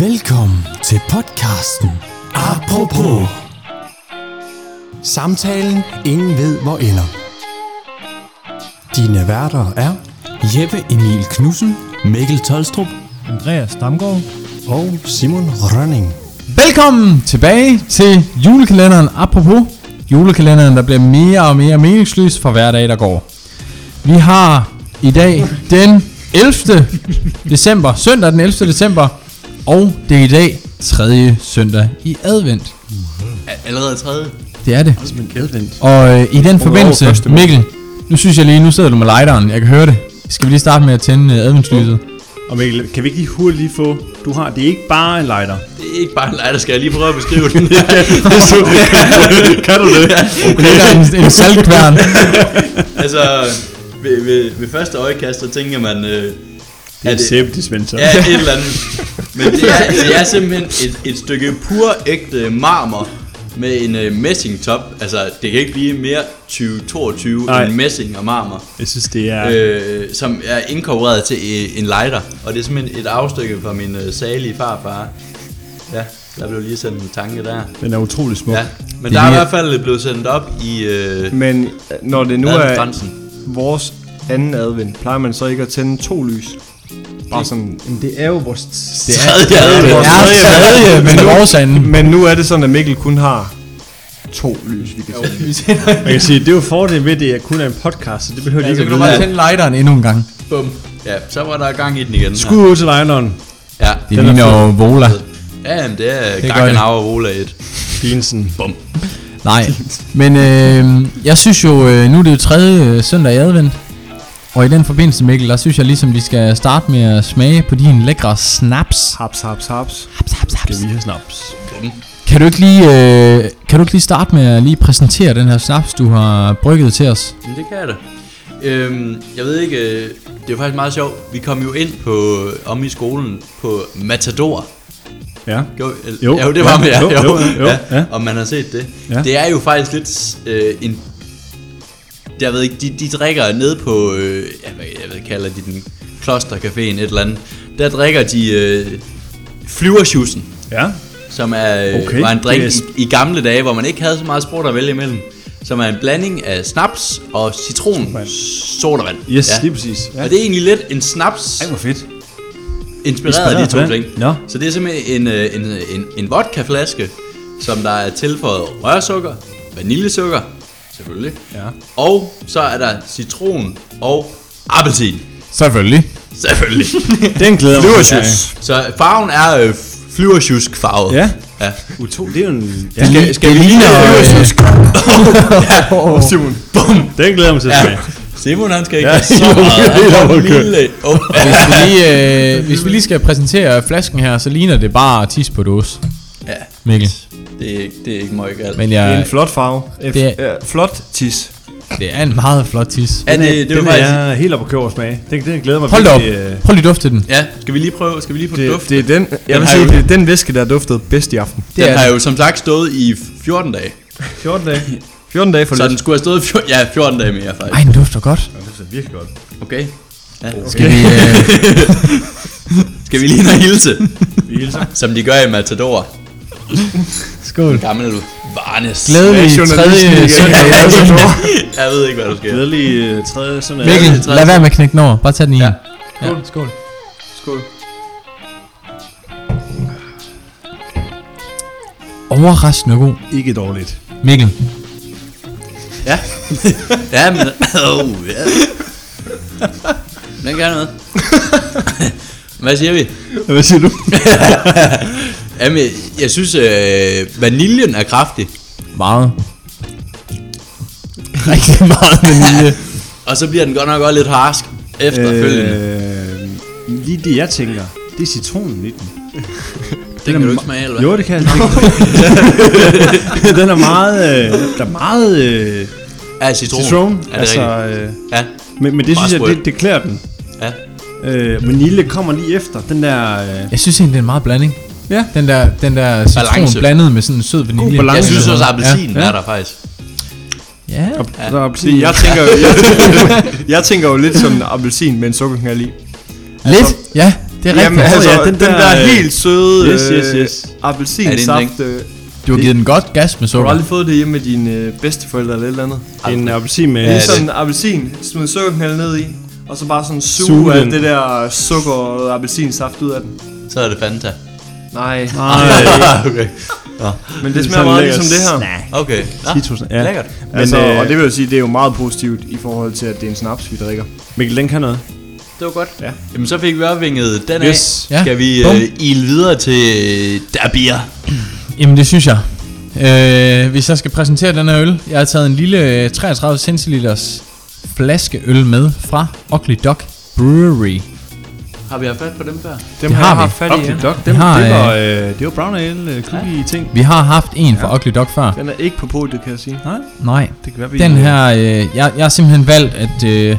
Velkommen til podcasten Apropos. Samtalen, ingen ved hvor ender. Dine værter er Jeppe Emil Knudsen Mikkel Tolstrup. Andreas Damgaard. og Simon Rønning. Velkommen tilbage til julekalenderen. Apropos julekalenderen, der bliver mere og mere meningsløs for hver dag, der går. Vi har i dag den 11. december, søndag den 11. december, og det er i dag tredje søndag i advent. Allerede tredje. Det er det. Men advent. Og øh, i den første forbindelse, måned. Mikkel, nu synes jeg lige, nu sidder du med lighteren, jeg kan høre det. Skal vi lige starte med at tænde øh, adventslyset? Og Mikkel, kan vi ikke lige hurtigt lige få... Du har, det er ikke bare en lighter. Det er ikke bare en lejr, der skal jeg lige prøve at beskrive den. kan du det? Det er en, en saltkværn. altså, ved, ved, ved første øjekast, så tænker man, øh, Det er det- en sæbedispenser. ja, et eller andet. Men det er, det er simpelthen et, et stykke pur ægte marmor med en øh, messingtop. Altså, det kan ikke blive mere 2022 Nej. end messing og marmor. Jeg synes, det er... øh, som er inkorporeret til øh, en lighter. Og det er simpelthen et afstykke fra min øh, salige farfar. Ja, der blev lige sendt en tanke der. Den er utrolig smuk. Ja, men Det der er i ligner- hvert fald blevet sendt op i øh, Men øh, når det nu er grænsen. vores anden advent, plejer man så ikke at tænde to lys? Bare sådan, men det er jo vores... Det er, Tredje det advent. er tredje, men vores anden. Men nu er det sådan, at Mikkel kun har to lys, vi kan tænde. Man kan sige, det er jo fordelen ved, at det kun er en podcast, så det behøver de Ja, ikke så kan at du vide. bare tænde lighteren endnu en gang. Bum. Ja, så var der gang i den igen. her. Skud ud til lighteren. Ja, Det Den er ligner jo Vola. ja jamen, det er gør Gaggenau og Ola 1. Pinsen. Bum. Nej, men øh, jeg synes jo, øh, nu er det jo tredje øh, søndag i advent. Og i den forbindelse, Mikkel, der synes jeg ligesom, vi skal starte med at smage på din lækre snaps. Haps, haps, haps. Haps, haps, haps. Skal vi have snaps? Kan du ikke lige, øh, kan du ikke lige starte med at lige præsentere den her snaps, du har brygget til os? Men det kan jeg da. Øhm, jeg ved ikke, øh, det er jo faktisk meget sjovt. Vi kom jo ind på, om i skolen på Matador. Ja. Jo, el- Jo, ja, jo, det var ja, med jer. jo, jo, jo, ja. ja. Og man har set det. Ja. Ja. Det er jo faktisk lidt øh, en... Jeg ved ikke, de, de drikker ned på, øh, jeg, ved, jeg ved, kalder de den klostercaféen et eller andet. Der drikker de øh, flyversjusen, Ja. som er, øh, Okay, var en drink det er- i, i gamle dage, hvor man ikke havde så meget sport at vælge imellem. Som er en blanding af snaps og citron sodavand. Yes, lige præcis. Ja. Og det er egentlig lidt en snaps Ej, hvor fedt. inspireret af de to Inspireret, ting. ja. Nå. Så det er simpelthen en, øh, en, øh, en, en vodkaflaske, som der er tilføjet rørsukker, vaniljesukker, selvfølgelig. Ja. Og så er der citron og appelsin, Selvfølgelig. selvfølgelig. Den glæder jeg mig. til. så farven er øh, flyversjusk farvet. Ja. ja. Uto, det er jo en... Ja. Skal, skal vi lige... Simon. Bum. Den glæder jeg mig til. Ja. Ja. Simon han skal ikke Ja, have så jo, meget. det er Han overkørt. lille. Oh, ja. Hvis vi, lige, øh, hvis vi lige skal præsentere flasken her, så ligner det bare tis på dåse, ja. Mikkel. Det er, ikke- det er ikke meget galt. Men Det er jeg, en flot farve. F- Det det er- er... flot tis. det er en meget flot tis. ja, det, det var den faktisk... er helt op på køber smag. Den, den glæder jeg mig Hold da op. virkelig, øh, Prøv lige duft til den. Ja, skal vi lige prøve, skal vi lige på duft? Det, det er den, jeg Den vil har sige, jo- det er den væske, der duftede bedst i aften. Den er har jo som sagt stået i 14 dage. 14 dage. 14 dage for Så den lidt. skulle have stået 14, ja, 14 dage mere faktisk. Ej, den dufter godt. Okay. Ja. Skal vi, øh, Skal vi lige ind og hilse, Vi hilser. som de gør i Matador? skål. Gammel Varnes. Glædelig Hvad er tredje journalisten igen? søndag. i advent. Jeg ved ikke, hvad der sker. Glædelig øh, tredje sådan er. Mikkel, Glædelig tredje lad være med at knække den over. Bare tag den i. Ja. Ja. Skål. Ja, skål. Skål. Overraskende god. Ikke dårligt. Mikkel, Ja. ja, men... Oh, ja. Den gør noget. Hvad siger vi? Hvad siger du? Jamen, jeg synes, øh, vaniljen er kraftig. meget. Rigtig meget vanilje. Og så bliver den godt nok også lidt harsk efterfølgende. Øh, Øh, lige det, jeg tænker, det er citronen i den. det kan du ikke smage, eller hvad? Jo, det kan jeg. den er meget... Øh, der er meget øh, Ja, citron. citron. Ja, det er altså, altså, rigtigt. øh, Ja, men, men det Meget synes jeg, sprødt. det, det klæder den. ja. Øh, vanilje kommer lige efter. Den der... Øh, Jeg synes egentlig, det er en meget blanding. Ja. Den der, den der citron Balance. blandet med sådan en sød vanilje. balance. Jeg synes også, Ja. at appelsinen ja. er der faktisk. Ja. Ja. Der er appelsin. Jeg tænker, jo, jeg, jeg tænker jo lidt som en appelsin med en sukkerknald i. Lidt. Ja. Det er rigtigt. Jamen, Jamen altså, ja, ja, den, den den der, der, øh, helt søde yes, yes, yes. Øh, appelsinsaft. Ja, Øh, du har givet den godt gas med har du sukker. aldrig fået det hjemme med dine øh, bedsteforældre eller et eller andet? Det En appelsin med... er Ja, Ja, det- sådan en appelsin, smid sukkerknald ned i, og så bare sådan suge, Suge alt den. det der sukker og appelsinsaft ud af den. Så er det Fanta. Ah, Nej, okay. Nå, men det smager sådan meget lækker ligesom det her. okay. Nå, Citrus, ja. Lækkert. Men, Altså, altså, øh, og og det vil jo sige, det er jo meget positivt i forhold til, at det er en snaps, vi drikker. Mikkel, den kan noget. Det var godt. Ja. Jamen, så fik vi opvinget den Yes. af. Ja. Skal vi Bum. øh, ile videre til øh, der er bier? Jamen, det synes jeg. Øh, hvis jeg skal præsentere den her øl, jeg har taget en lille øh, 33 centiliters flaskeøl med fra Ugly Duck Brewery. Har vi haft fat på dem før? Dem Det har vi. fat Dog, dog, dem- har, det var, øh, det var brown ale, øh, cookie ting. Vi har haft en fra Ugly Duck før. Den er ikke på podiet, kan jeg sige. Nej, Nej, det kan være, vi... den her, øh, jeg, jeg har simpelthen valgt, at øh,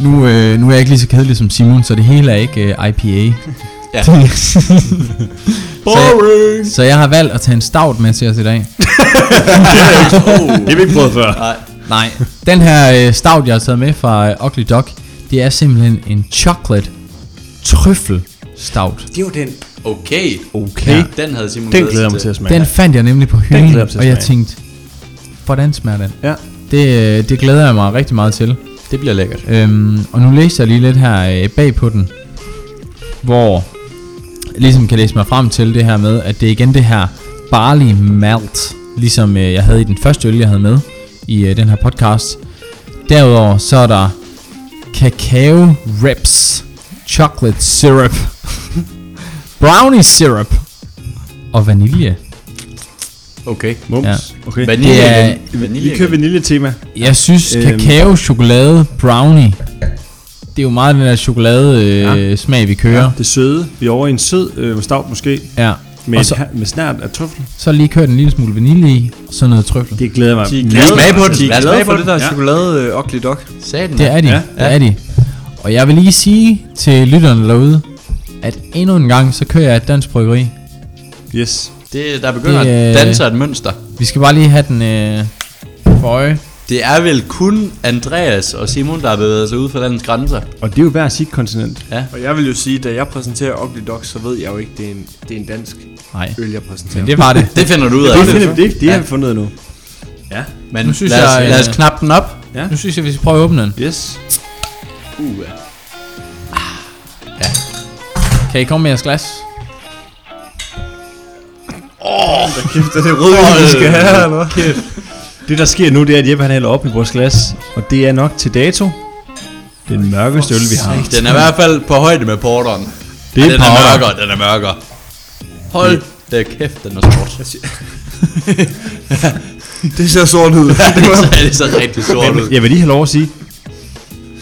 nu, øh, nu er jeg ikke lige så kedelig som Simon, så det hele er ikke øh, IPA. Ja. Boring! Så, så jeg har valgt at tage en stout med til os i dag. Det har vi ikke prøvet før. Nej. Nej, den her øh, stout, jeg har taget med fra øh, Ugly Dog, det er simpelthen en chocolate trøffel stout. Det var den. Okay. Okay. Ja, den havde Simon Den glædet glæder jeg sig mig til at smage. Den fandt jeg nemlig på hylden, glæder jeg mig til at og jeg smage. tænkte, hvordan smager den? Ja. Det, øh, det glæder jeg mig rigtig meget til. Det bliver lækkert. Øhm, og nu læser jeg lige lidt her øh, bag på den, hvor jeg ligesom kan læse mig frem til det her med, at det er igen det her barley malt, ligesom øh, jeg havde i den første øl, jeg havde med i øh, den her podcast. Derudover så er der kakao reps, chocolate syrup, brownie syrup og vanilje. Okay. Mums. Ja. Okay. Vanilje. Det er- igen. vanilje. Vi kører igen. vanilje-tema. Jeg synes, Øhm. kakao, chokolade, brownie, det er jo meget den der chokolade øh, smag, vi kører. Det søde. Vi er over i en sød øh, stout måske. Ja. Med, Og så- så... med snært af trøffel. Så lige kørt en lille smule vanilje i, og så noget trøffel. Det, Det glæder jeg mig. Lad os smage på den. Lad os Glad smage for på det den. der Ja. chokolade øh, Ugly Dog. Satan. det er de, Ja, ja, det er de. Og jeg vil lige sige til lytterne derude, at endnu en gang, så kører jeg et dansk bryggeri. Yes. Det, der begynder Det, at øh, danse et mønster. Vi skal bare lige have den øh, for øje. Det er vel kun Andreas og Simon, der har bevæget sig ud for landets grænser. Og det er jo hver sit kontinent. Og jeg vil jo sige, da jeg præsenterer Ugly Dog, så ved jeg jo ikke, det er en, det er en dansk Nej, øl, jeg præsenterer. det var det. Det finder du ud af. Det, finder vi- det, det, det har Ja. vi fundet nu. Men Nu synes lad, os, jeg, lad os øh, knappe den op. Ja. Nu synes jeg, vi skal prøve at åbne den. Yes. Uh, Kan I komme med jeres glas? Kæft, det er det røde, vi skal have, eller hvad? Det der sker nu, det er, at Jeppe han hælder op i vores glas. Og det er nok til dato. Den mørkeste øl, vi har. den er i hvert fald på højde med porteren. Det Ej, er den er powder. mørkere, den er mørkere. Hold da kæft, den er sort. Det ser sort ud. det er så rigtig sort ud. Jeg vil lige have lov at sige.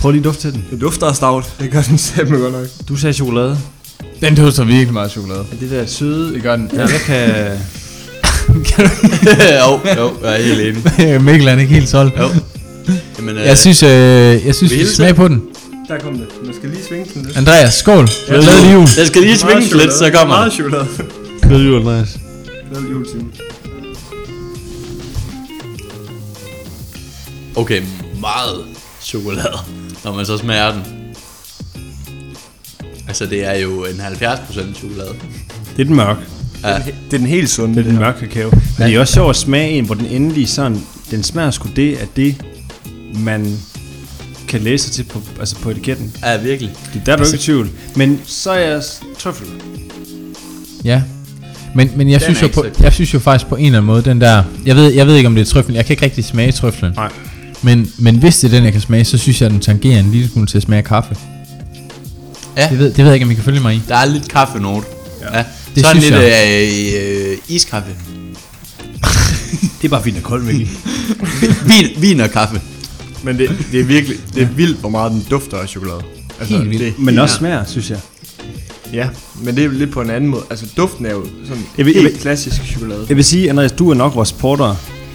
Prøv lige at dufte til den. Det dufter af stout. Det gør den sæt godt nok. Du sagde chokolade. Den dufter virkelig meget chokolade. Det der søde. Det gør den. Ja. Jeg kan... jo, jo, jeg er helt enig. Mikkel er ikke helt solgt. Jo. Jamen, øh, Jeg synes, øh, jeg synes vi skal hilse? smage på den. Der kom det. Man skal lige svinge den lidt. Andreas, skål. Glæd jul. den øh, skal lige svinge Meget lidt, så chokolade. kommer den. Meget chokolade. Ved du, Andreas? Glad jul, Simon. Okay, meget chokolade, når man så smager den. Altså, det er jo en 70% chokolade. Det er den mørke. Ja, Det er den helt sunde. Det er den mørke kakao. Men det er også sjovt at smage en, hvor den endelig sådan... Den smager sgu det af det, man kan læse sig til på, altså på etiketten. ja virkelig. Det der er du ikke i tvivl. Men så er jeg s- trøffel. Ja. Men, men jeg, Den synes er jo ikke på, så god. jeg synes jo faktisk på en eller anden måde, den der... Jeg ved, jeg ved ikke, om det er trøffel. Jeg kan ikke rigtig smage trøffelen. Nej. Men, men hvis det er den, jeg kan smage, så synes jeg, at den tangerer en lille smule til at smage kaffe. Ja. Det ved, det ved jeg ikke, om I kan følge mig i. Der er lidt kaffenote. Ja. ja. Det Sådan synes lidt øh, øh, iskaffe. Det er bare fint og koldt, Mikkel. Vin, vin og kaffe. Men det, det er virkelig, det er vildt, hvor meget den dufter af chokolade. Altså, Helt vildt. Det, Men også smager, synes jeg. ja, men det er lidt på en anden måde. Altså, duften er jo sådan Jeg vil- helt jeg vil- klassisk chokolade. Jeg vil sige, Andreas, du er nok vores porter.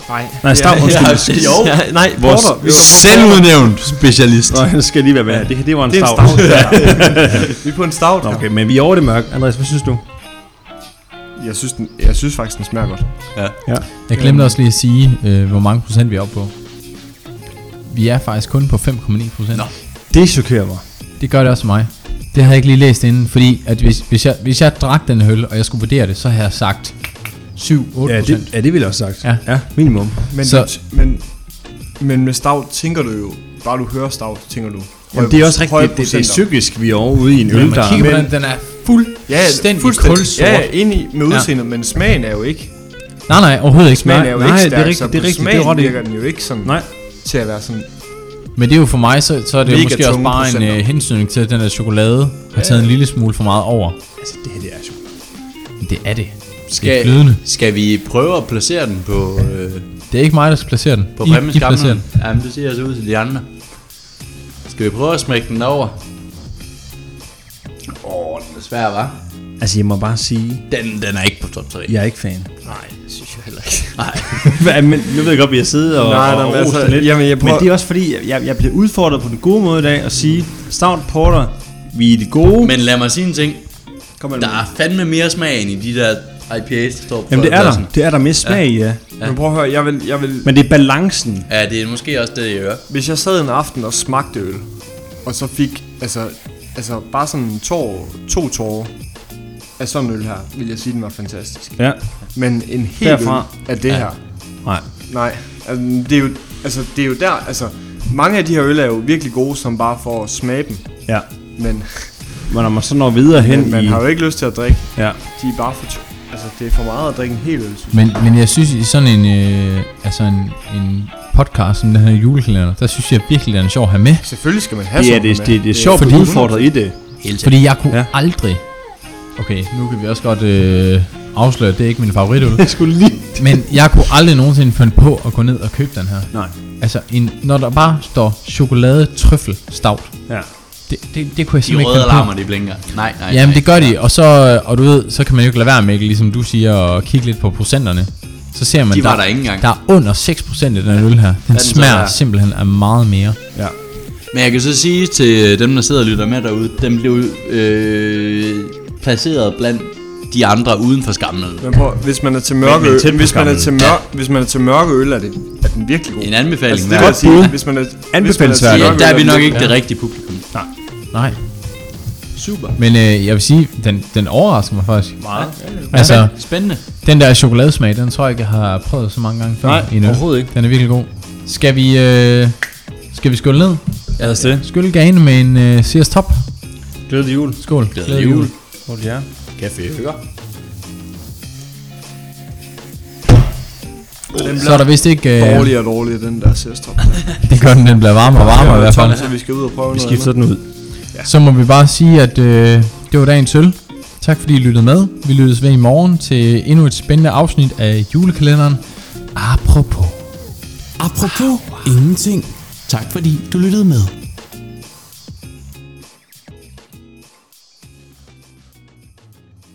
Nej, Nej, stav, undskyld. Ja, Ja, jo. Ja, nej, Vores- porter. Vi, var, Selvudnævnt specialist. Nå, jeg skal lige være med. Det, her, det var en det er en stav. stout. vi er på en stout. Nå, Okay, men vi er over det mørke. Andreas, hvad synes du? Jeg synes, den, jeg synes faktisk, den smager godt. Jeg glemte også lige at sige, øh, hvor mange procent vi er oppe på. Vi er faktisk kun på 5,9 procent. Nå. Det chokerer mig. Det gør det også for mig. Det havde jeg ikke lige læst inden, fordi at hvis, hvis, jeg, hvis jeg drak den øl, og jeg skulle vurdere det, så havde jeg sagt 7-8 Ja, ja, det, ja, det ville jeg også sagt. Ja. ja minimum. Men, Så- så, men, men med stout tænker du jo, bare du hører stout, tænker du. Jamen, det er også rigtigt, det, det, det er psykisk, vi er over ude i en Når øl, man der... kigger på men- den, den er ja, fuldstændig, fuldstændig. kulsort. Ja, enig med udseendet, ja. men smagen er jo ikke. Nej, nej, overhovedet ikke. Smagen Nej, er jo altså, nej, ikke det er stærk, rigtigt, så det er på rigtigt, smagen det er ret i. virker den jo ikke sådan Nej, til at være sådan. Men det er jo for mig, så, så er det jo Mega måske også tunge bare en procenter. øh, hensynning til, at den der chokolade har taget en lille smule for meget over. altså det her, det er sjovt. Men det er det. Det er flydende. Skal, skal vi prøve at placere den på, øh, Det er ikke mig, der skal placere den. på I, I Remmens placerer den. Jamen, det ser altså ud til de andre. Skal vi prøve at smække den over? Åh, oh, den er svær, var. Altså, jeg må bare sige, Den, den er ikke på top 3. jeg er ikke fan. Nej, det synes jeg heller ikke. Nej. Hva, men nu ved jeg godt, vi har siddet og, Nej, og, nej, og men rost altså, den lidt. jamen, jeg men prøver- det er også fordi, jeg, jeg blev udfordret på den gode måde i dag at sige, Stout Porter, vi er det gode. Men lad mig sige en ting. Kom Der er fandme mere smag end i de der IPAs, der står på Jamen det er der. førstepladsen. Det er der mere smag i, ja. Ja. Men prøv at høre, jeg vil, jeg vil, Men det er balancen. Ja, det er måske også det, jeg hører. hvis jeg sad en aften og smagte øl, og så fik, altså, altså bare sådan en tår, to tårer af sådan en øl her, vil jeg sige, den var fantastisk. Ja. Men en hel Derfra. øl af det ja. her, Nej. nej. Altså, det, er jo, altså, det er jo der, altså, mange af de her øl er jo virkelig gode, som bare får at smage dem. Ja. Men Men når man så når videre hen Men man i... har jo ikke lyst til at drikke. Ja. De er bare for... t- Altså, det er for meget at drikke en hel øl, synes jeg. Men, men jeg synes, i sådan en, øh, altså en, en podcast som den her julekalender, der synes jeg virkelig, den er sjov at have med. Selvfølgelig skal man have Det er, sådan det, med. det, det er sjovt at fordi- blive udfordret i det. Helt sikkert. Fordi jeg kunne Ja. ja. aldrig... Okay, nu kan vi også godt øh, afsløre, at det er ikke min favoritøl. Jeg skulle lige... men jeg kunne aldrig nogensinde finde på at gå ned og købe den her. Nej. Altså, en, når der bare står chokolade trøffel stout, Ja. det, det, det kunne jeg De simpelthen røde ikke alarmer, finde på. de blinker. Nej, nej, Jamen nej. det gør de, og så, og du ved, så kan man jo ikke lade være med, ligesom du siger, og kigge lidt på procenterne. Så ser man, De var der ikke engang. der er under 6% i den her øl her. Den så smager værd? simpelthen af meget mere. Ja. Men jeg kan så sige til øh, dem, der sidder og lytter med derude, dem blev øh, placeret blandt de andre uden for skamlet. Men prøv, hvis man er til mørke Men- men øl, tæt på hvis man er skamlen. til mørk, hvis man er til mørke øl, er det er den virkelig god. En anbefaling, Altså, hvad det vil er jeg det? sige, Bud. hvis man er, hvis man er til Anbefalesværdigt. mørke Ja, øl, der er vi den nok virkelig ikke det rigtige publikum. Nej. Nej. Super. Men øh, jeg vil sige, den, den overrasker mig faktisk. Meget. Altså, Spændende. den der chokoladesmag, den tror jeg ikke, jeg har prøvet så mange gange før. Nej, i en øl. overhovedet ikke. Den er virkelig god. Skal vi, øh, skal vi skylle ned? Ja, det er det. Skylle gagen med en øh, Sears Top. Glædelig jul. Skål. Glædelig jul. Hvor det er. Café. Så er der vist ikke... Øh, Dårligere og dårligere, den der særstrop. det gør den, den bliver varmere og varmere i hvert fald. Så vi skal ud og prøve Vi noget skifter andet. den ud. Så må vi bare sige, at øh, det var dagens øl. Tak fordi I lyttede med. Vi lyttes ved i morgen til endnu et spændende afsnit af julekalenderen. Apropos. Apropos ingenting. Tak fordi du lyttede med.